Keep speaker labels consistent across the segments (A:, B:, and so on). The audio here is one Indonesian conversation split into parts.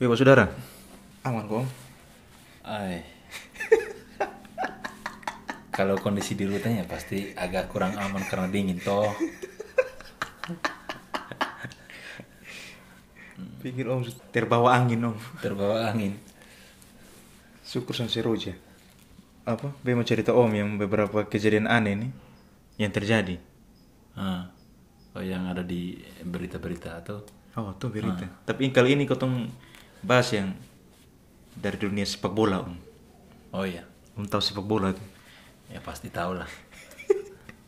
A: Bebas saudara.
B: Aman kok.
C: Ay. Kalau kondisi di rutan ya pasti agak kurang aman karena dingin toh.
B: Pikir om terbawa angin om.
C: Terbawa angin.
B: Syukur sama si Roja. Apa? Be mau cerita om yang beberapa kejadian aneh nih yang terjadi.
C: Ah. Oh yang ada di berita-berita atau
B: Oh tuh berita. Tapi kali ini ketong bahas yang dari dunia sepak bola om.
C: Oh iya.
B: Om tahu sepak bola tuh.
C: Ya pasti tahu lah.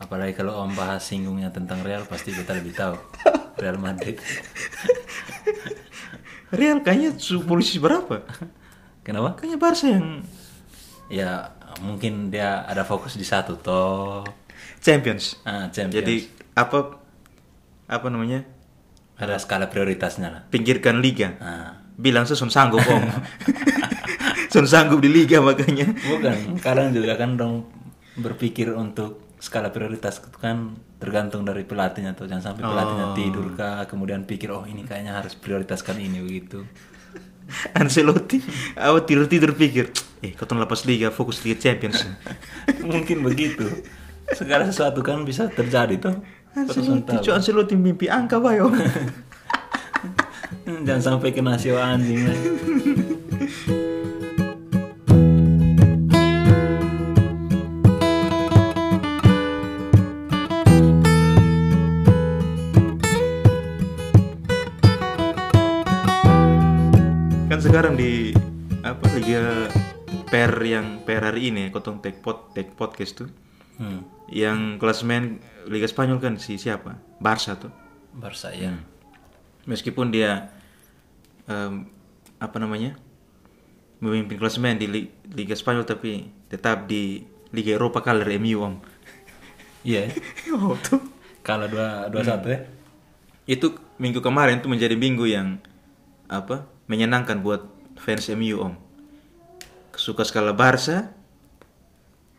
C: Apalagi kalau Om bahas singgungnya tentang Real pasti kita lebih tahu. Real Madrid.
B: Real kayaknya su polisi berapa?
C: Kenapa?
B: Kayaknya Barca yang
C: Ya mungkin dia ada fokus di satu toh.
B: Champions.
C: Ah, Champions.
B: Jadi apa apa namanya?
C: ada skala prioritasnya lah.
B: Pinggirkan liga.
C: Ah.
B: Bilang sih sun sanggup om. sun sanggup di liga makanya.
C: Bukan, kadang juga kan dong berpikir untuk skala prioritas itu kan tergantung dari pelatihnya tuh jangan sampai pelatihnya
B: Oh.
C: tidur kah kemudian pikir oh ini kayaknya harus prioritaskan ini begitu
B: Ancelotti awal tidur tidur pikir eh kau tuh lepas liga fokus liga Champions.
C: mungkin begitu segala sesuatu kan bisa terjadi tuh
B: Ancelotti, cuy Ancelotti mimpi angka bayo.
C: jangan sampai kena siwa anjing lah.
B: kan sekarang di apa liga per yang per hari ini kau tuh take pod take podcast tuh
C: hmm,
B: yang klasmen liga Spanyol kan si siapa Barca tuh
C: Barca ya
B: meskipun dia em, apa namanya memimpin klasemen di li- Liga Spanyol tapi tetap di Liga Eropa kalah dari MU om.
C: iya ya.
B: Oh, tuh. Hmm.
C: kalau dua dua satu ya
B: Itu minggu kemarin tuh menjadi minggu yang apa menyenangkan buat fans MU om. Suka skala Barca.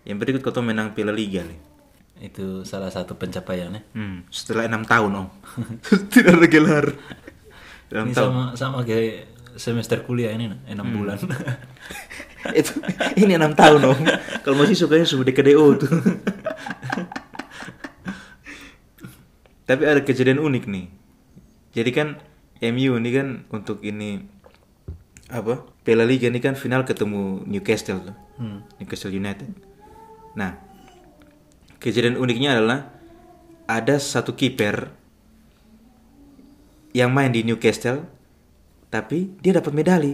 B: Yang berikut kau tahu menang Piala Liga nih.
C: itu salah satu pencapaiannya
B: Hmm, setelah enam tahun om tidak ada gelar. Enam
C: ini
B: tahun.
C: sama sama kayak semester kuliah ini nah, enam
B: Hmm.
C: bulan
B: itu ini enam tahun om kalau masih sukanya sudah DKDO tuh tapi ada kejadian unik nih jadi kan MU ini kan untuk ini apa Piala Liga ini kan final ketemu Newcastle tuh
C: Hmm.
B: Newcastle United nah kejadian uniknya adalah ada satu kiper yang main di Newcastle tapi dia dapat medali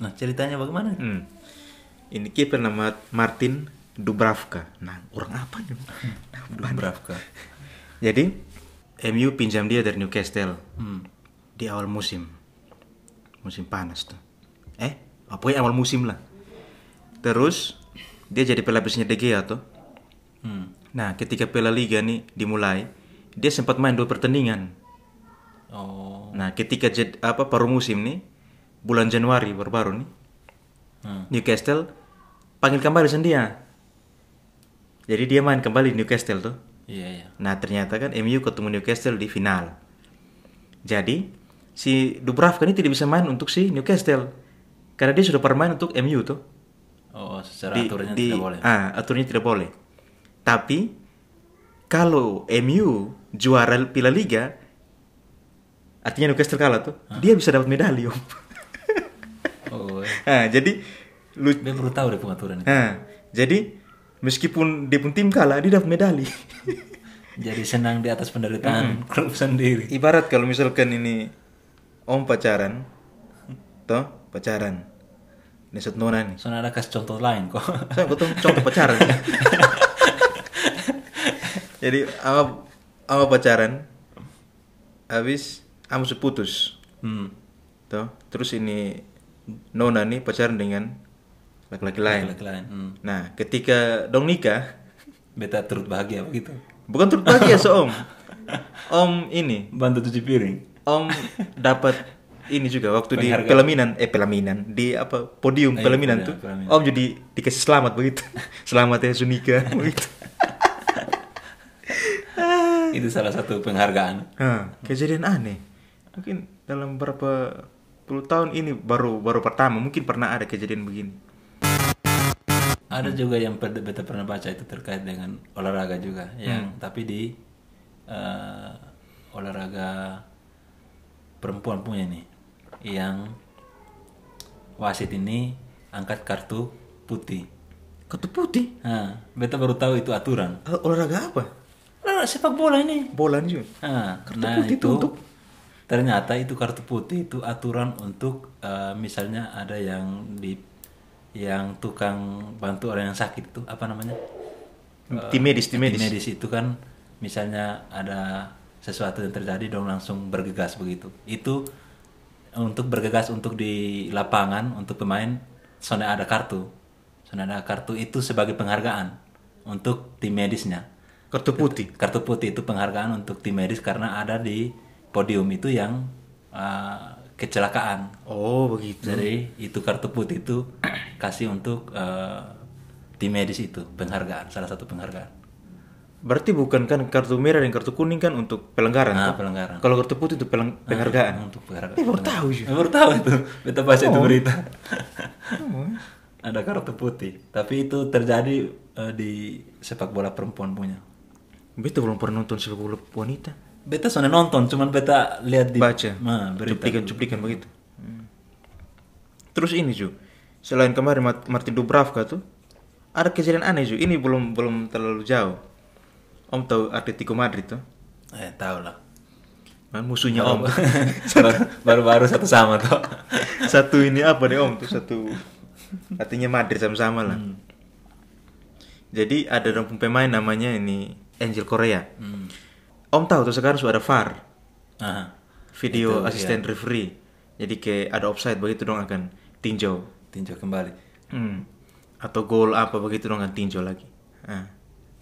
C: nah ceritanya bagaimana
B: Hmm. Ini kiper nama Martin Dubravka. Nah, orang apa nih? Nah,
C: Dubravka
B: Jadi MU pinjam dia dari Newcastle
C: hmm.
B: di awal musim. Musim panas tuh. Eh, pokoknya awal musim lah. Terus dia jadi pelapisnya De Gea tuh.
C: Hmm.
B: Nah, ketika Piala Liga nih dimulai, dia sempat main dua pertandingan.
C: oh
B: Nah, ketika jad- apa paruh musim nih, bulan Januari baru-baru nih,
C: Hmm.
B: Newcastle panggil kembali Sendia. Jadi dia main kembali di Newcastle tuh.
C: iya iya
B: Nah ternyata kan MU ketemu Newcastle di final. Jadi si Dubravka ini tidak bisa main untuk si Newcastle karena dia sudah permain untuk MU tuh.
C: oh secara
B: Di-
C: aturannya
B: di-
C: tidak boleh
B: Ah, aturannya tidak boleh. Tapi kalau MU juara Piala Liga, artinya Newcastle kalah tuh, dia bisa dapat medali om.
C: oh eh.
B: ah, jadi lu
C: dia baru tahu deh pengaturan itu
B: Nah, jadi meskipun dia pun tim kalah, dia dapat medali.
C: jadi senang di atas
B: Hmm.
C: penderitaan klub sendiri
B: Ibarat kalau misalkan ini om pacaran, toh pacaran, ini satu nona nih.
C: soalnya ada kasih contoh lain kok
B: Saya ketemu contoh pacaran. jadi ama, ama pacaran, habis ama su putus,
C: hmm.
B: toh. Terus ini nona nih pacaran dengan laki-laki lain.
C: laki lain hmm.
B: Nah, ketika dong nikah,
C: beta turut bahagia begitu
B: Bukan turut bahagia so om. Om ini,
C: bantu cuci piring
B: om dapat ini juga waktu di
C: Penghargaan.
B: pelaminan, eh pelaminan di apa podium
C: Iya,
B: pelaminan
C: podium,
B: tuh.
C: pelaminan.
B: Om jadi dikasih selamat begitu. selamat ya Sunika begitu.
C: itu salah satu penghargaan
B: Nah, kejadian aneh. Mungkin dalam beberapa tahun ini baru baru pertama mungkin pernah ada kejadian begini.
C: Ada
B: Hmm.
C: juga yang per- beta pernah baca itu terkait dengan olahraga juga,
B: Hmm.
C: yang tapi di eh, olahraga perempuan punya nih, yang wasit ini angkat kartu putih.
B: Kartu putih?
C: Nah, beta baru tahu itu aturan.
B: Ol- Olahraga apa?
C: Lah, sepak bola ini.
B: Bola juga.
C: Nah,
B: Kartu
C: nah
B: putih
C: itu
B: itu untuk-
C: ternyata itu kartu putih itu aturan untuk eh, misalnya ada yang di yang tukang bantu orang yang sakit itu apa namanya?
B: tim medis, tim medis.
C: Tim medis itu kan misalnya ada sesuatu yang terjadi dong langsung bergegas begitu. Itu untuk bergegas untuk di lapangan untuk pemain soalnya ada kartu. Soalnya ada kartu itu sebagai penghargaan untuk tim medisnya
B: Kartu putih.
C: kartu putih itu penghargaan untuk tim medis karena ada di podium itu yang uh, kecelakaan.
B: Oh begitu.
C: Jadi itu kartu putih itu kasih untuk uh, tim medis itu penghargaan, salah satu penghargaan.
B: Berarti bukan kan kartu merah dan kartu kuning kan untuk pelenggaran.
C: Nah,
B: toh?
C: pelenggaran.
B: Kalau kartu putih itu peleng- penghargaan.
C: Untuk penghargaan.
B: Ini baru tahu Oh. juga.
C: Eh, baru tahu itu. Beta baca itu berita.
B: Oh.
C: Ada kartu putih, tapi itu terjadi uh, di sepak bola perempuan punya.
B: Beta belum pernah nonton sepak bola wanita.
C: Beta soalnya nonton, cuman beta lihat di
B: Baca.
C: Nah, berita.
B: Cuplikan-cuplikan begitu. Terus ini Ju, selain kemarin Mart- Martin Dubravka tuh, ada kejadian aneh Ju. Ini belum belum terlalu jauh. Om tahu Atletico Madrid tuh?
C: Eh, tahu lah.
B: Kan musuhnya Om.
C: Baru- baru-baru satu sama tuh
B: satu ini apa nih Om tuh satu artinya Madrid sama-sama lah.
C: Hmm,
B: Jadi ada dong pemain namanya ini Angel Korea. Om tahu tuh sekarang sudah ada VAR.
C: hmm. Aha. iya.
B: video asisten referee jadi kayak ada offside begitu dong akan tinjau
C: tinjau kembali
B: Hmm. atau gol apa begitu dong akan tinjau lagi Nah.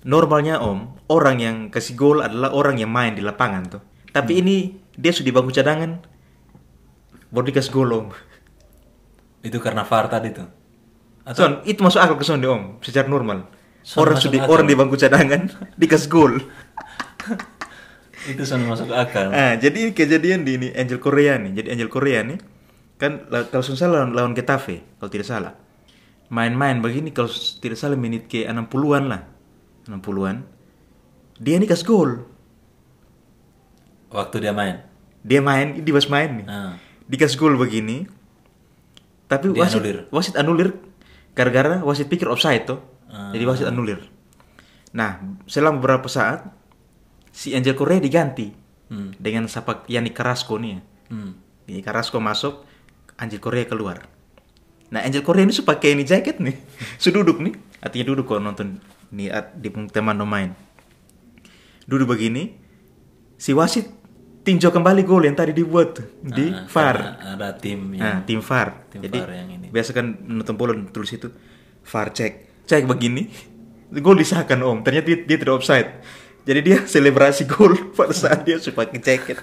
B: normalnya om orang yang kasih gol adalah orang yang main di lapangan tuh
C: Hmm.
B: tapi ini dia sudah di bangku cadangan baru dikasih gol om
C: itu karena VAR tadi tuh atau
B: Son, itu masuk akal ke Son deh om secara normal
C: Son
B: orang
C: masuk
B: sudah
C: akal.
B: orang di bangku cadangan dikasih gol
C: itu sudah masuk akal
B: Ah, jadi ini kejadian di ini Angel Korea nih. Jadi Angel Korea nih kan la- kalau tidak salah lawan, lawan Getafe kalau tidak salah. Main-main begini kalau s- tidak salah menit ke 60-an lah. 60-an. Dia nih kas gol.
C: waktu dia main
B: Dia main, dia pas main nih.
C: Ah.
B: Dikas gol begini. Tapi
C: Dia
B: wasit
C: anulir.
B: wasit anulir gara-gara wasit pikir offside tuh.
C: Ah.
B: Jadi wasit anulir. Nah, selama beberapa saat si Angel Korea diganti
C: Hmm.
B: dengan sepak Yannick Carrasco nih ya.
C: Hmm.
B: Ini Carrasco masuk, Angel Korea keluar. Nah, Angel Korea ini sudah pakai ini jaket nih. Sudah duduk nih. Artinya duduk kalau nonton nih at- di pung- teman domain. Duduk begini, si wasit tinjau kembali gol yang tadi dibuat tuh, di
C: Ah,
B: VAR.
C: karena ada tim
B: Nah, tim
C: yang
B: VAR.
C: Iya. Tim
B: Jadi,
C: VAR yang ini.
B: biasa kan menonton bola tulis itu VAR cek. Cek begini. Gol disahkan Om. Ternyata dia, dia tidak offside. Jadi dia selebrasi gol pada saat dia sudah pakai jaket.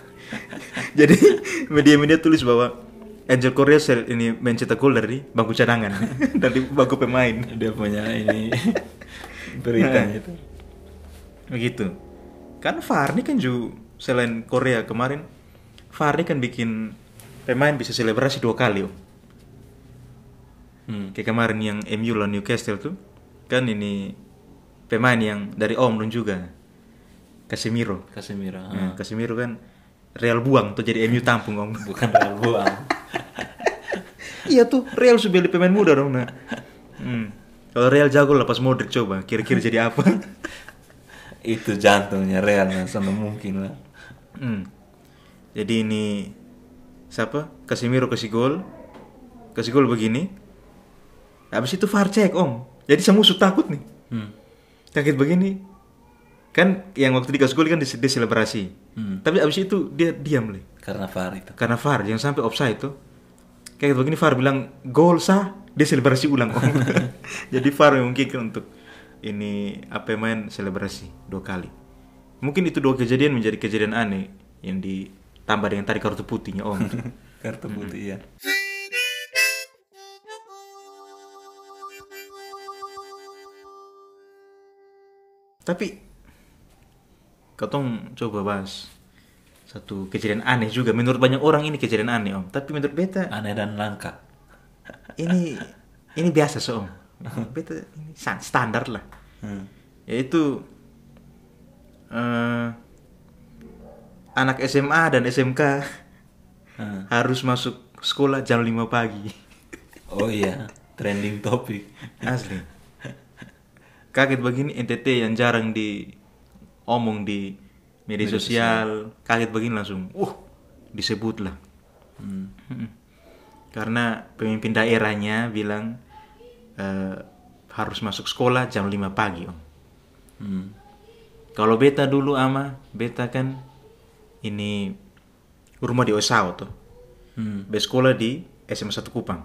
B: Jadi media-media tulis bahwa Angel Korea sel- ini mencetak gol dari bangku cadangan dari bangku pemain.
C: dia punya ini Nah. beritanya itu
B: Begitu. Kan VAR ini kan juga selain Korea kemarin VAR ini kan bikin pemain bisa selebrasi dua kali, Om.
C: Hmm.
B: kayak kemarin yang MU lawan Newcastle tuh kan ini pemain yang dari Omlun juga Casemiro
C: Casemiro ah.
B: nah, Casemiro kan Real buang tuh jadi MU tampung om
C: bukan ah. Real buang
B: iya tuh Real sudah beli pemain muda dong nah hmm. kalau Real jago lepas Modric coba kira-kira jadi apa
C: itu jantungnya Real nah, sana mungkin lah
B: Hmm. jadi ini siapa Casemiro kasih gol kasih gol begini habis itu VAR cek om jadi semua musuh takut nih
C: Hmm.
B: Sakit begini kan yang waktu dikasih gol kan dis- dia selebrasi
C: Hmm.
B: tapi abis itu dia diam leh
C: karena VAR itu
B: karena VAR yang sampai offside tuh kayak begini VAR bilang gol sah dia selebrasi ulang om jadi VAR memungkinkan untuk ini apa yang main selebrasi dua kali mungkin itu dua kejadian menjadi kejadian aneh yang ditambah dengan tadi kartu putihnya om
C: kartu putih ya
B: tapi katong coba bahas satu kejadian aneh juga. Menurut banyak orang ini kejadian aneh om, tapi menurut beta
C: Aneh dan langka.
B: ini ini biasa so om. Beta ini san- standar lah.
C: Hmm.
B: Yaitu eh, anak SMA dan SMK
C: Hmm.
B: harus masuk sekolah jam 5 pagi.
C: Oh iya, trending topik.
B: Asli. Kaget begini NTT yang jarang di omong di media sosial. Kaget begini langsung. Uh, disebut lah.
C: Hmm.
B: Mm-mm. Karena pemimpin daerahnya bilang eh, harus masuk sekolah jam 5 pagi, Om.
C: Hmm.
B: Kalau beta dulu ama, beta kan ini rumah di Osao tuh.
C: Hmm.
B: Bes sekolah di SMA 1 Kupang.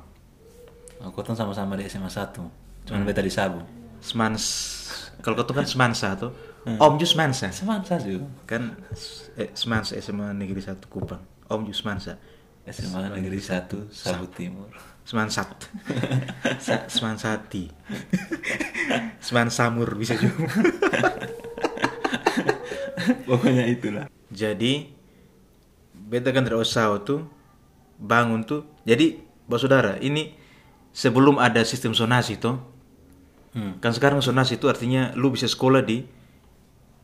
C: Aku kan sama-sama di SMA 1. Cuman beta di Sabu.
B: Semans kalau kau kan semansa tuh. Om Jus Mansa.
C: SMA 1
B: kan eh, Semans SMA Negeri 1 Kupang Om Jusmansa
C: SMA Negeri 1 Sabu Timur.
B: Semansat Sa- Semansati Semansamur bisa juga
C: Pokoknya itulah.
B: jadi beta kan dari Osao tuh bangun tuh jadi bos saudara ini sebelum ada sistem sonasi tuh
C: Hmm.
B: kan sekarang sonasi itu artinya lu bisa sekolah di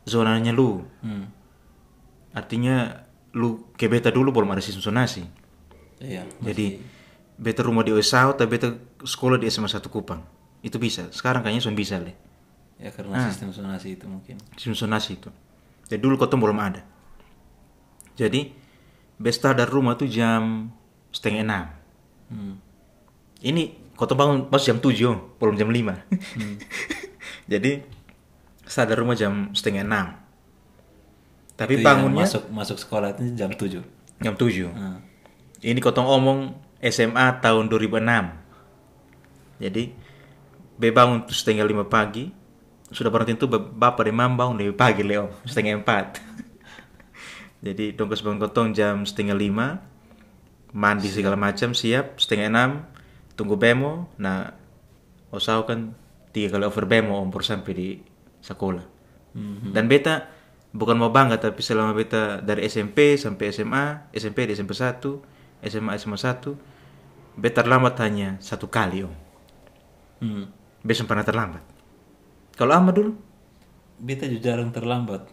B: zonanya lu
C: Hmm.
B: artinya lu ke beta dulu belum ada sistem sonasi
C: Iya.
B: Jadi beta rumah di Osao tapi beta sekolah di SMA 1 Kupang. Itu bisa. Sekarang kayaknya sudah bisa deh.
C: Ya karena
B: ah.
C: sistem zonasi itu mungkin.
B: Sistem sonasi itu. Jadi dulu kotong belum ada. Jadi beta dari rumah tuh jam setengah enam.
C: Hmm.
B: Ini kotong bangun pas jam 7, Om. belum jam 5.
C: Hmm.
B: Jadi start dari rumah jam setengah enam. Tapi
C: Itu yang
B: bangunnya Ah,
C: masuk masuk sekolah itu jam 7.
B: jam 7.
C: Hmm.
B: Ini kotong omong SMA tahun 2006. Jadi be bangun tuh setengah lima pagi. Sudah berarti itu bap- bapak dan mam bangun lebih pagi Leo setengah empat. Jadi dongkos bangun kotong jam setengah lima. Mandi segala macam siap setengah enam. Tunggu bemo. Nah Osao kan tiga kali over bemo ompor sampai di sekolah. Mhm. Dan beta bukan mau bangga tapi selama beta dari SMP sampai SMA, SMP di SMP 1, SMA SMA 1, beta terlambat hanya satu kali om.
C: Hmm.
B: Beta pernah terlambat. Kalau ama dulu,
C: Beta juga jarang terlambat.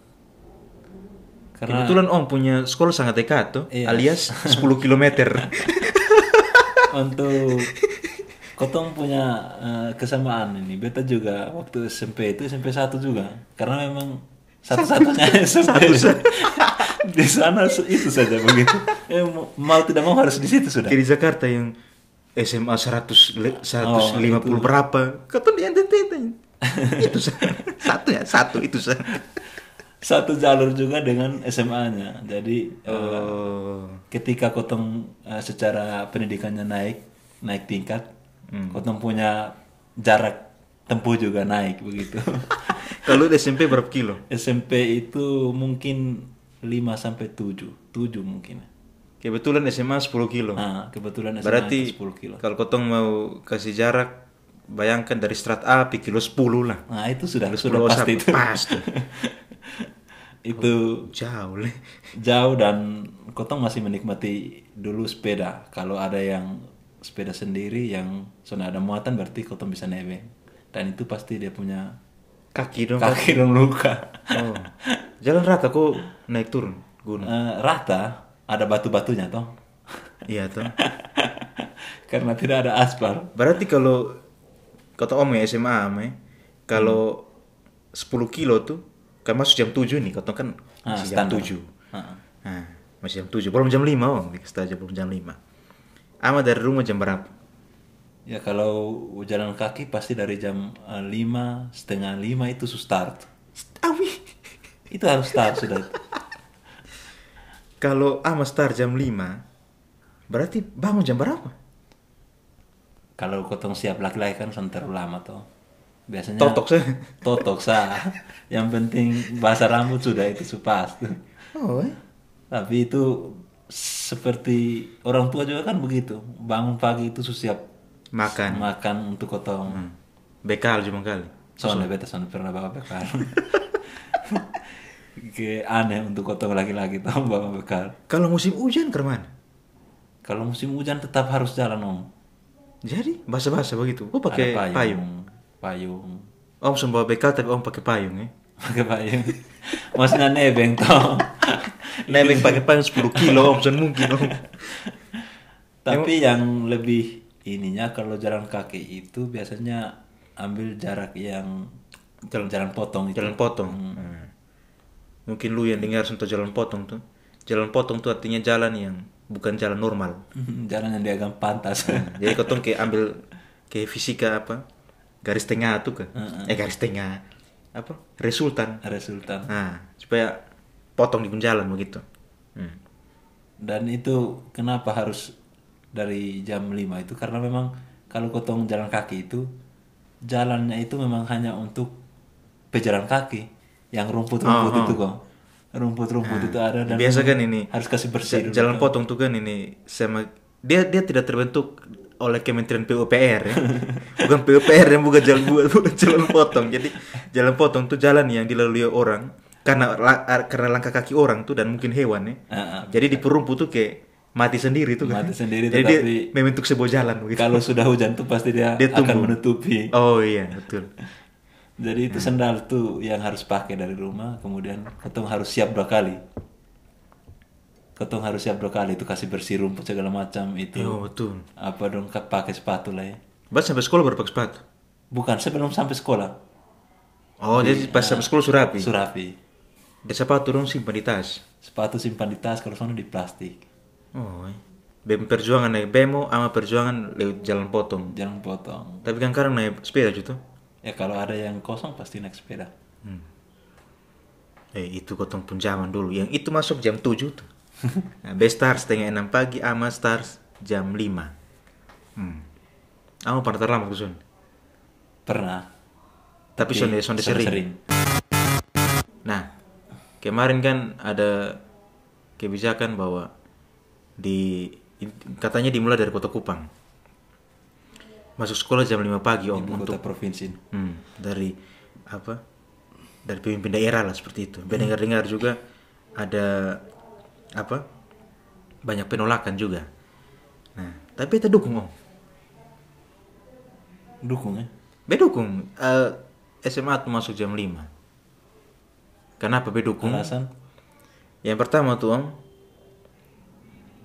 C: Karena
B: kebetulan om punya sekolah sangat dekat tuh,
C: Iya.
B: alias 10 km.
C: untuk Kotong punya eh, kesamaan ini. Beta juga waktu SMP itu SMP 1 juga. Karena memang satu-satunya SMP. di sana se- itu saja begitu. Eh, mau- mau tidak mau harus di situ sudah.
B: Kayak di Jakarta yang SMA 100 le- 150
C: Oh, itu.
B: berapa, kata di NTT itu. itu sah. satu ya, satu itu sah.
C: Satu jalur juga dengan SMA-nya. Jadi eh,
B: Oh.
C: ketika Kotong eh, secara pendidikannya naik, naik tingkat,
B: Hmm.
C: Kotong punya jarak tempuh juga naik begitu.
B: Kalau di SMP berapa kilo?
C: SMP itu mungkin 5 sampai 7, 7 mungkin.
B: Kebetulan SMA 10 kilo.
C: Nah, kebetulan SMA
B: Berarti
C: itu 10 kilo.
B: kalau kotong mau kasih jarak, bayangkan dari strat A ke kilo 10 lah.
C: Nah, itu sudah
B: Kilo
C: sudah
B: 10
C: pasti
B: satu,
C: itu.
B: pas tuh.
C: itu
B: Jauh leh.
C: jauh dan Kotong masih menikmati dulu sepeda. Kalau ada yang sepeda sendiri yang sudah ada muatan berarti Kotong bisa nebeng. Dan itu pasti dia punya
B: Kaki dong.
C: kaki dan luka.
B: Oh. Jalan rata kok naik turun gunung.
C: Eh, rata ada batu-batunya toh.
B: Iya tuh.
C: Karena tidak ada aspal.
B: Berarti kalau kata om ya SMA om ya, kalau 10 kilo tuh kan masuk jam 7 nih, kotong kan
C: Ah,
B: masih jam
C: standar. Ah,
B: 7.
C: Heeh.
B: Nah, masih jam 7, belum jam 5 om, dikasih tahu aja belum jam 5. Ama dari rumah jam berapa?
C: Ya kalau jalan kaki pasti dari jam eh, lima setengah lima itu su start.
B: Awi.
C: Itu harus start sudah.
B: Kalau ama start jam 5, berarti bangun jam berapa?
C: Kalau kotong siap laki-laki kan santer lama toh. Biasanya
B: Totok sih.
C: Totok sah. Yang penting bahasa rambut sudah itu su pas tuh.
B: Oh, eh.
C: Tapi itu seperti orang tua juga kan begitu. Bangun pagi itu su siap
B: makan.
C: makan untuk
B: Hmm.
C: kotong.
B: Bekal cuma kali.
C: Soalnya beta soalnya pernah bawa bekal. Kayak aneh untuk kota laki-laki tambah bekal.
B: Kalau musim hujan kerman.
C: Kalau musim hujan tetap harus jalan om.
B: Jadi basah-basah begitu. Gue pakai
C: Ada
B: payung.
C: Payung.
B: Om sembawa bekal tapi om pakai payung ya.
C: Pakai payung. Maksudnya nebeng toh.
B: Nebeng pakai payung 10 kilo om sen mungkin om.
C: Tapi yang lebih ininya kalau jalan kaki itu biasanya ambil jarak yang jalan jalan potong itu.
B: Jalan potong. Hmm. Mungkin lu yang dengar sentuh jalan potong tuh. Jalan potong tuh artinya jalan yang bukan jalan normal.
C: jalan yang dianggap pantas.
B: Jadi kotong kayak ambil kayak fisika apa garis tengah tuh ke? Eh garis tengah apa resultan.
C: Resultan.
B: Nah supaya potong di jalan begitu. Hmm.
C: Dan itu kenapa harus dari jam 5 itu karena memang kalau kotong jalan kaki itu jalannya itu memang hanya untuk pejalan kaki yang rumput-rumput itu kok. Rumput-rumput itu Gitu, ada dan
B: Oh, Biasa kan ini
C: harus kasih bersih. dulu.
B: jalan potong tuh kan ini sama dia dia tidak terbentuk oleh Kementerian PUPR ya. bukan PUPR yang bukan jalan buat bukan jalan potong jadi jalan potong tuh jalan yang dilalui orang karena la- karena langkah kaki orang tuh dan mungkin hewan ya
C: Ah, ah.
B: jadi di perumpu tuh kayak mati sendiri tuh kan
C: Mati sendiri,
B: jadi dia
C: tetapi-
B: membentuk sebuah jalan begitu
C: Kalau sudah hujan tuh pasti dia,
B: Dia
C: akan
B: tumbuh.
C: menutupi.
B: oh Hmm. iya betul
C: Jadi itu sendal tuh yang harus pakai dari rumah, kemudian ketong harus siap dua kali. Ketong harus siap dua kali itu kasih bersih rumput segala macam itu.
B: oh betul
C: Apa dong ke- pakai sepatu lah ya.
B: Bat sampai sekolah baru pakai sepatu
C: Bukan sebelum sampai sekolah,
B: oh jadi pas sampai sekolah sudah rapi
C: Iya. surapi.
B: dia sepatu dong simpan di tas
C: Sepatu simpan di tas, kalau sana di plastik.
B: Oh, iya. BEM perjuangan naik bemo sama perjuangan lewat jalan potong.
C: Jangan potong.
B: Tapi kan sekarang naik sepeda gitu.
C: Ya kalau ada yang kosong pasti naik sepeda.
B: Eh, itu gotong punjaman dulu. Yang itu masuk jam 7 tuh. Nah, B Stars setengah 6 pagi, ama Stars jam 5. Hmm. Ama pernah terlambat ke Sun?
C: Pernah.
B: Tapi sonde sonde
C: Sudah
B: sering. Nah, kemarin kan ada kebijakan bahwa di katanya dimulai dari Kota Kupang. Masuk sekolah jam 5 pagi om
C: Ibu kota provinsi.
B: Hmm, dari apa? Dari pemimpin daerah lah seperti itu. Saya dengar-dengar juga ada apa? Banyak penolakan juga. Nah, tapi kita dukung om.
C: Dukung ya.
B: Be dukung eh, SMA tuh masuk jam 5 Kenapa be dukung?
C: Alasan?
B: Yang pertama tuh om,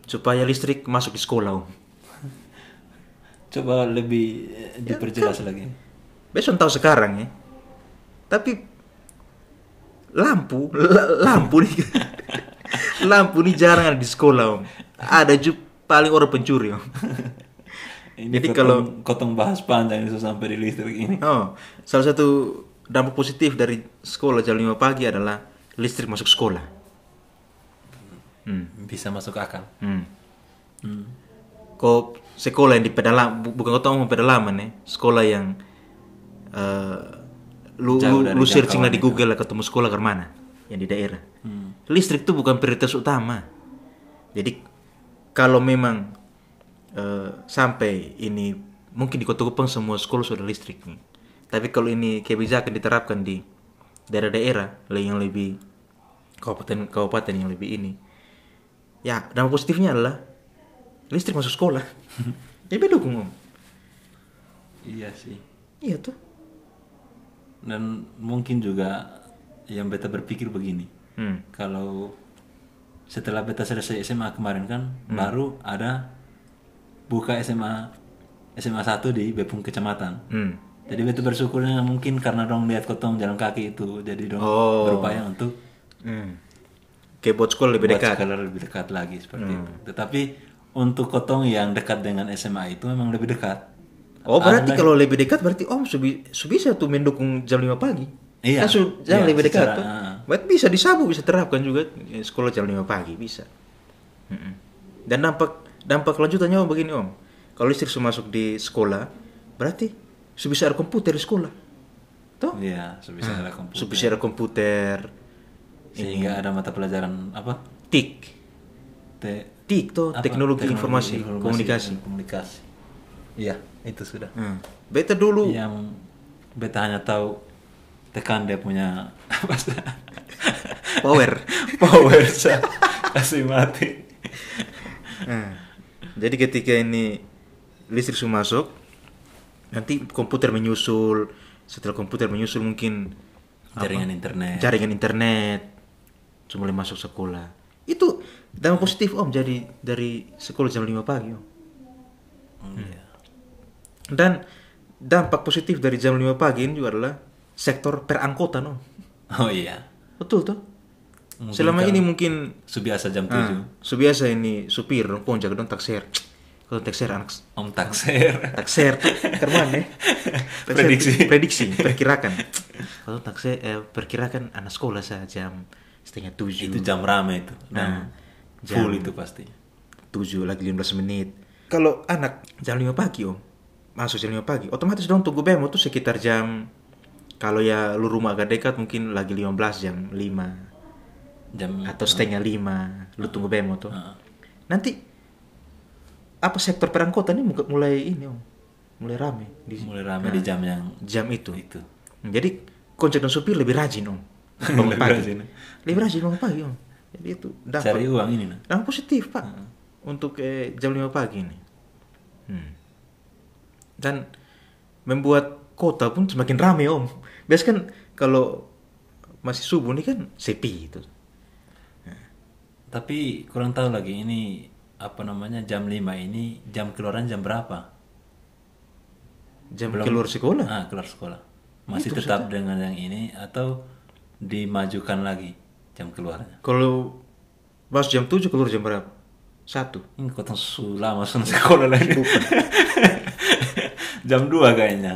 B: supaya listrik masuk di sekolah om.
C: Coba lebih eh, diperjelas lagi.
B: Besok tahu sekarang ya. Tapi lampu, la- lampu nih, lampu nih jarang ada di sekolah om. Ada ju paling orang pencuri om.
C: Ini
B: Jadi
C: Jadi kalau
B: kalau-
C: kotong bahas panjang itu sampai di listrik ini.
B: Oh, salah satu dampak positif dari sekolah jam 5 pagi adalah listrik masuk sekolah. Hmm.
C: Bisa masuk akal.
B: Hmm. Kok sekolah yang di pedalaman bukan kau tahu mau pedalaman ya, sekolah yang eh, lu
C: Jauh
B: lu,
C: dari
B: lu searching lah di
C: jangkauan
B: Google lah ketemu sekolah ke mana yang di daerah.
C: Hmm.
B: Listrik tuh bukan prioritas utama. Jadi kalau memang eh, sampai ini mungkin di Kota Kupang semua sekolah sudah listrik nih. Tapi kalau ini kebijakan diterapkan di daerah-daerah yang lebih kabupaten-kabupaten yang lebih ini, Ya, dampak positifnya adalah listrik masuk sekolah. ya beda dukung om.
C: Iya sih.
B: Iya tuh.
C: Dan mungkin juga yang beta berpikir begini.
B: Hmm.
C: Kalau setelah beta selesai SMA kemarin kan, baru ada buka SMA SMA 1 di Bepung Kecamatan.
B: Hmm.
C: Jadi beta bersyukurnya mungkin karena dong lihat kotong jalan kaki itu, jadi dong
B: Oh.
C: berupaya untuk
B: Hmm. Kayak buat sekolah lebih
C: buat
B: dekat. Hmm.
C: sekolah lebih dekat lagi seperti itu. Tetapi untuk kotong yang dekat dengan SMA itu memang lebih dekat.
B: Oh, berarti kalau lebih dekat berarti om subi, su bisa tuh mendukung jam 5 pagi.
C: Iya.
B: Kan su, jam
C: Iya,
B: lebih dekat
C: secara-
B: tuh.
C: ah.
B: Berarti bisa di Sabu bisa terapkan juga eh, sekolah jam 5 pagi bisa. Mm-mm. Dan dampak dampak lanjutannya om begini om. Kalau listrik su masuk di sekolah, berarti su bisa ada komputer di sekolah. Tuh.
C: Iya, sebisa ada komputer.
B: Su bisa Ah, Hmm. ada komputer, Hmm.
C: Sehingga ada mata pelajaran apa?
B: tik.
C: Te
B: TIK tuh
C: apa?
B: Oh, teknologi, informasi,
C: Informasi
B: komunikasi.
C: dan komunikasi. Iya, itu sudah.
B: Hmm. Beta dulu
C: Yang beta hanya tahu tekan dia punya apa sih?
B: Power.
C: Power Sa. kasih mati.
B: Nah, jadi ketika ini listrik sudah masuk, nanti komputer menyusul. Setelah komputer menyusul mungkin
C: Jaringan internet.
B: jaringan internet mulai masuk sekolah. Itu dampak positif om jadi dari sekolah jam 5 pagi om.
C: Hmm, iya.
B: Dan dampak positif dari jam 5 pagi ini juga adalah sektor perangkotan om.
C: Oh iya.
B: Betul tuh.
C: Mungkin
B: Selama
C: kan
B: ini mungkin
C: Subiasa jam 7.
B: Ah, sebiasa ini supir dong ponjak dong takser. Kalau takser anak
C: Om Takser.
B: takser tuh kerman ya. Takser,
C: Prediksi.
B: prediksi, perkirakan. Kalau takser eh, perkirakan anak sekolah saya jam setengah tujuh.
C: itu jam rame itu.
B: Nah,
C: Nah, full itu pasti.
B: tujuh lagi 15 menit. Kalau anak jam 5 pagi om, masuk jam 5 pagi, otomatis dong tunggu bemo tuh sekitar jam kalau ya lu rumah agak dekat mungkin lagi 15 jam 5
C: Jam Ah,
B: atau setengah lima lu tunggu bemo tuh
C: Heeh.
B: nanti apa sektor perangkota ini muka- mulai ini om mulai rame di Nah,
C: mulai rame
B: Ah.
C: di jam yang
B: jam itu
C: itu.
B: jadi konjek dan supir lebih rajin om bangun
C: Lebih
B: pagi
C: rajin.
B: lebih rajin bangun pagi om jadi itu dampak
C: Cari uang ini nah.
B: dampak positif pak untuk eh, jam 5 pagi ini Hmm. dan membuat kota pun semakin rame om biasa kan kalau masih subuh ini kan sepi itu
C: Tapi kurang tahu lagi ini apa namanya jam 5 ini jam keluaran jam berapa?
B: jam keluar sekolah
C: Ah, keluar sekolah. Masih tetap dengan yang ini atau dimajukan lagi jam keluarnya?
B: Kalau masuk jam 7 keluar jam berapa? Satu.
C: Ini kotong lama langsung sekolah lagi. jam 2 kayaknya.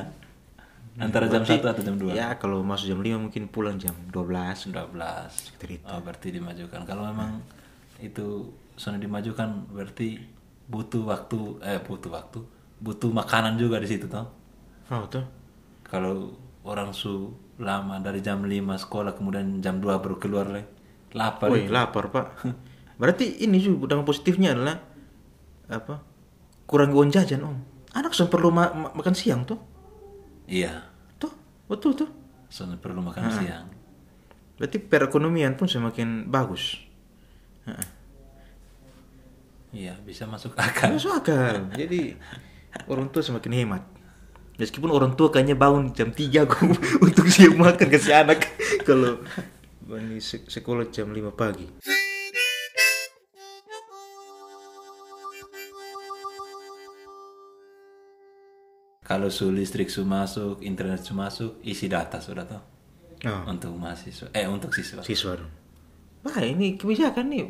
C: Antara jam 1 atau jam 2?
B: Ya kalau masuk jam 5 mungkin pulang jam 12.
C: 12.
B: Sekitar itu.
C: Oh, berarti dimajukan. Kalau memang itu sudah dimajukan berarti butuh waktu eh butuh waktu, butuh makanan juga di situ toh.
B: Oh tuh.
C: Kalau orang su lama dari jam 5 sekolah kemudian jam 2 baru keluar lagi. Lapar.
B: Woi lapar pak. Berarti ini juga dampak positifnya adalah apa? Kurang uang jajan om. Anak sudah perlu ma- ma- makan siang tuh.
C: Iya.
B: Tuh betul tuh.
C: Soalnya perlu makan siang.
B: Berarti perekonomian pun semakin bagus. Heeh.
C: Iya, bisa masuk akal.
B: Masuk akal. Jadi orang tua semakin hemat. Meskipun orang tua kayaknya bangun jam 3 kok untuk siap makan ke si anak kalau ini se- sekolah jam 5 pagi.
C: Kalau su listrik su masuk, internet su masuk, isi data sudah toh.
B: Oh,
C: Untuk mahasiswa eh untuk siswa.
B: siswa dong. Wah, ini kebijakan nih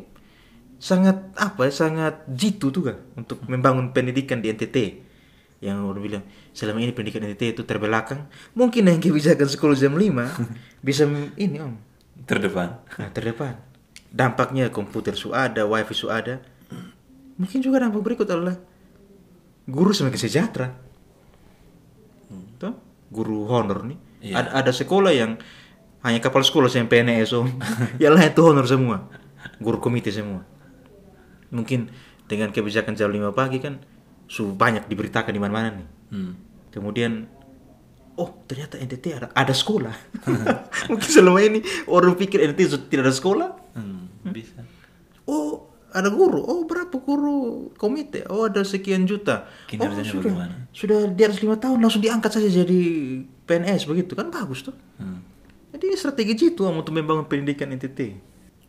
B: sangat apa ya sangat jitu tuh kan untuk membangun pendidikan di NTT yang orang bilang selama ini pendidikan NTT itu terbelakang mungkin yang kebijakan sekolah jam 5 bisa mem- ini om
C: Terdepan.
B: Nah, terdepan. Dampaknya komputer sudah ada, wifi sudah ada. Mungkin juga dampak berikut adalah guru semakin sejahtera. Tuh, guru honor nih.
C: Iya.
B: Ada, ada sekolah yang hanya kepala sekolah yang PNS om. ya lah itu honor semua. Guru komite semua. Mungkin dengan kebijakan jam 5 pagi kan su banyak diberitakan di mana-mana nih.
C: Hmm.
B: Kemudian oh ternyata NTT ada ada sekolah. Mungkin selama ini orang pikir NTT su- tidak ada sekolah.
C: Hmm, bisa.
B: Oh ada guru. Oh berapa guru komite? Oh ada sekian juta. Oh,
C: Kinerjanya
B: sudah
C: bagaimana?
B: sudah di atas lima tahun langsung diangkat saja jadi PNS begitu kan bagus tuh.
C: Hmm.
B: Jadi ini strategi jitu om, untuk membangun pendidikan NTT.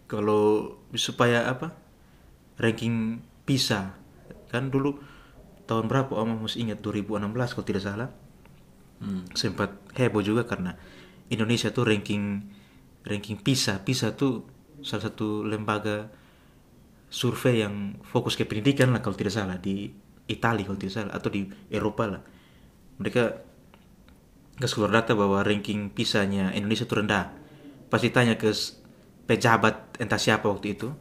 B: Kalau supaya apa? Ranking PISA kan dulu tahun berapa om harus ingat 2016 kalau tidak salah
C: Hmm.
B: sempat heboh juga karena Indonesia tuh ranking ranking PISA. PISA tuh salah satu lembaga survei yang fokus ke pendidikan lah kalau tidak salah di Italia kalau tidak salah atau di Eropa lah. Mereka nggak keluar data bahwa ranking PISA-nya Indonesia tuh rendah. Pasti tanya ke s- pejabat entah siapa waktu itu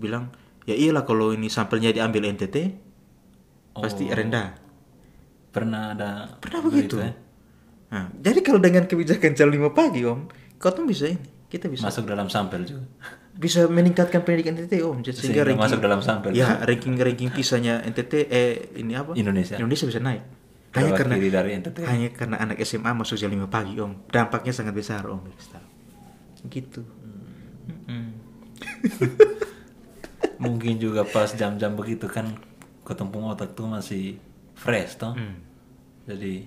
B: bilang ya iyalah kalau ini sampelnya diambil NTT pasti rendah.
C: Pernah ada
B: Pernah begitu.
C: berita ya?
B: Nah, jadi kalau dengan kebijakan jam 5 pagi, Om, kau tuh bisa ini. Kita bisa
C: Masuk dalam sampel juga.
B: bisa meningkatkan pendidikan NTT, Om. Jadi sehingga
C: Sehingga
B: ranking,
C: masuk dalam sampel.
B: Ya, ranking-ranking pisahnya NTT eh ini apa?
C: Indonesia.
B: Indonesia bisa naik. Hanya
C: Terwakili
B: karena
C: dari NTT.
B: hanya karena anak SMA masuk jam 5 pagi, Om. Dampaknya sangat besar, Om. Harus tahu. Gitu.
C: mungkin juga pas jam-jam begitu kan ketumpung otak tuh masih fresh toh
B: Hmm.
C: jadi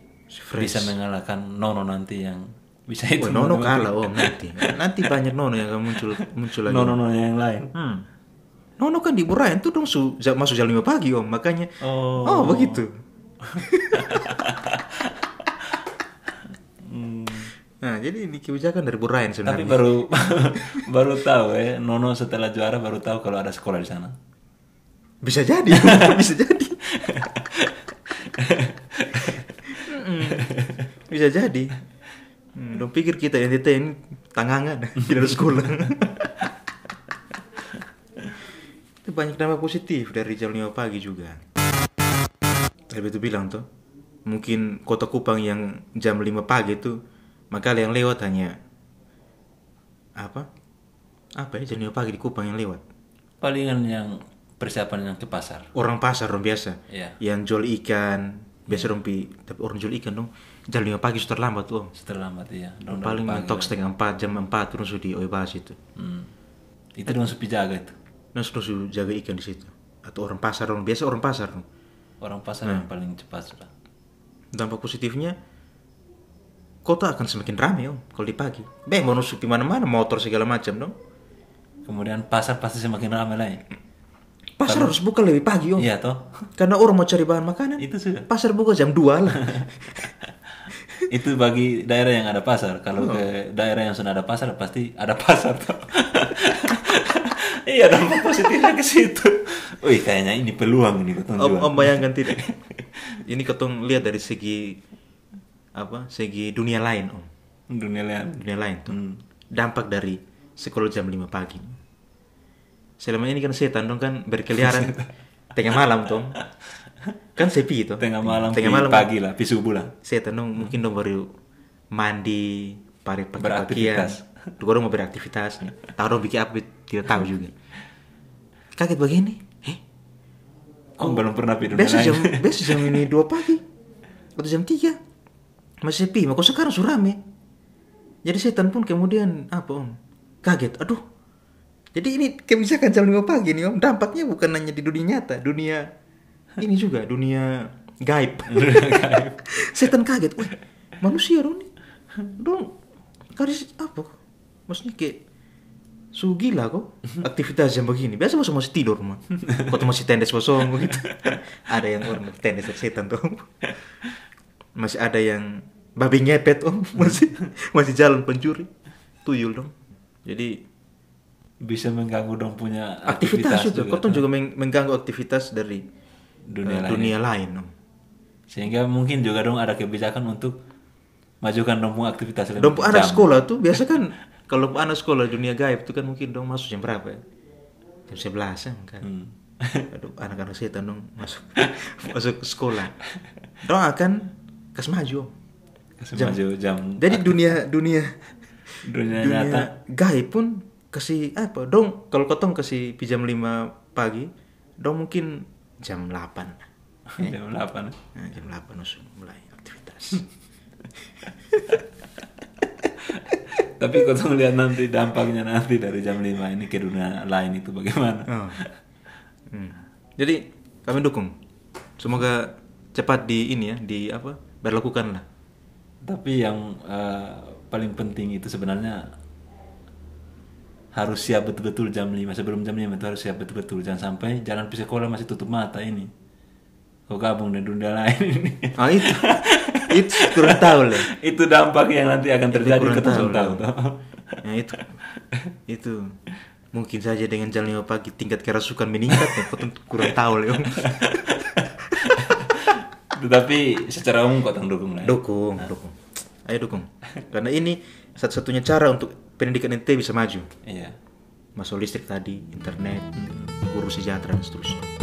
C: bisa mengalahkan nono nanti yang bisa itu
B: Oh, Nono kalah, oh nanti. Nanti banyak Nono yang akan muncul muncul lagi.
C: nono nono yang lain
B: Hmm. Nono kan dimurahin tuh dong su- ja- masuk jam 5 pagi om, makanya.
C: Oh.
B: begitu. Nah, jadi ini kebijakan dari Bu Ryan
C: tapi
B: sebenarnya.
C: baru baru tahu ya nono setelah juara baru tahu kalau ada sekolah di sana
B: Bisa jadi, bisa jadi. Mm-mm. bisa jadi. Hmm, dong pikir kita yang kita ini tangangan, tidak harus sekolah. Itu banyak dampak positif dari jam 5 pagi juga. Tapi itu bilang tuh, mungkin kota Kupang yang jam 5 pagi itu, maka yang lewat hanya apa? Apa ya jam 5 pagi di Kupang yang lewat?
C: palingan yang persiapan yang ke pasar
B: orang pasar orang biasa
C: Iya.
B: yang jual ikan biasa orang pi tapi orang jual ikan dong jam lima pagi sudah terlambat tuh om
C: setelah mati ya
B: Orang paling mentok setengah empat jam empat terus sudah di Oibas itu
C: Hmm. Itu dong sepi jaga itu.
B: nah sudah sudah jaga ikan di situ atau orang pasar orang biasa orang pasar dong.
C: Orang pasar yang paling cepat sudah.
B: dampak positifnya kota akan semakin ramai om kalau di pagi beh mau nusuk di mana mana motor segala macam dong
C: Kemudian pasar pasti semakin ramai lagi.
B: pasar harus buka lebih pagi om
C: Iya toh.
B: karena orang mau cari bahan makanan
C: Itu sudah.
B: pasar buka jam 2 lah
C: Itu bagi daerah yang ada
B: Oh.
C: pasar. Kalau ke daerah yang sudah ada pasar pasti ada pasar toh. iya dampak positifnya ke situ. Wih kayaknya ini peluang ini ketemu.
B: Om, om bayangkan tidak. Ini ketong lihat dari segi apa? Segi dunia lain, Om.
C: Dunia Hmm. lihat.
B: Dunia lain tuh. Dampak dari sekolah jam 5 pagi. Selama ini kan setan dong kan berkeliaran tengah malam, Tom. Kan sepi itu.
C: Tengah malam,
B: tengah
C: pi-
B: malam.
C: pagi lah, pi subuh lah.
B: Setan dong mungkin dong baru mandi, pare pakai pakaian.
C: Beraktivitas.
B: Orang mau beraktivitas. Tahu dong bikin apa tidak tahu juga. Kaget begini. Eh,
C: Om belum pernah pi dunia
B: Oh. Besok
C: lain.
B: jam besok jam ini dua pagi atau jam 3 masih sepi. Maka sekarang sudah rame. Jadi setan pun kemudian apa om kaget. Aduh. Jadi ini kebijakan jam 5 pagi nih om. Dampaknya bukan hanya di dunia nyata, dunia ini juga dunia gaib. setan kaget. Wih, manusia dong nih. Dong garis apa? Maksudnya kayak su gila kok aktivitas jam begini biasa masih masih tidur mah kok masih tendes kosong gitu ada yang orang tendes setan tuh masih ada yang babi ngepet om masih masih jalan pencuri tuyul dong jadi
C: Bisa mengganggu dong punya
B: aktivitas, juga,
C: juga.
B: Koton juga meng- mengganggu aktivitas dari eh,
C: Dunia lain.
B: dunia lain om
C: sehingga mungkin juga dong ada kebijakan untuk majukan dong punya aktivitas lebih
B: Dompu anak
C: jam.
B: sekolah tuh biasa kan kalau anak sekolah dunia gaib tuh kan mungkin dong masuk jam berapa ya? Jam sebelasan kan.
C: Hmm.
B: Aduh anak-anak setan dong masuk masuk sekolah. Dong akan kas maju.
C: Kasih maju jam
B: Jadi dunia dunia
C: dunia,
B: dunia
C: nyata
B: gaib pun kasih apa? Dong kalau ketong kasih pi jam 5 pagi, dong mungkin jam 8.
C: jam 8
B: Nah, jam 8 langsung mulai
C: Hmm.
B: aktivitas.
C: tapi kau tuh lihat nanti dampaknya nanti dari jam 5 ini ke dunia lain itu bagaimana
B: Oh. Hmm. Jadi kami dukung. Semoga cepat di ini ya, di apa? Berlakukan lah.
C: tapi yang eh, paling penting itu sebenarnya harus siap betul-betul jam 5 sebelum jam 5 itu harus siap betul-betul jangan sampai jalan ke sekolah masih tutup mata ini kau gabung dengan dunia lain ini
B: Ah itu. itu kurang tahu lah.
C: itu dampak yang nanti akan terjadi
B: kurang
C: ke tahun
B: tahu,
C: tahu
B: Ya itu. Itu mungkin saja dengan jalan lima pagi tingkat kerasukan meningkat ya, kau tentu kurang tahu Leon.
C: tetapi secara umum kau tang dukung lah ya.
B: Dukung, dukung. Ayo dukung. Karena ini satu-satunya cara untuk pendidikan NT bisa maju.
C: iya
B: Masuk listrik tadi, internet, guru sejahtera dan seterusnya.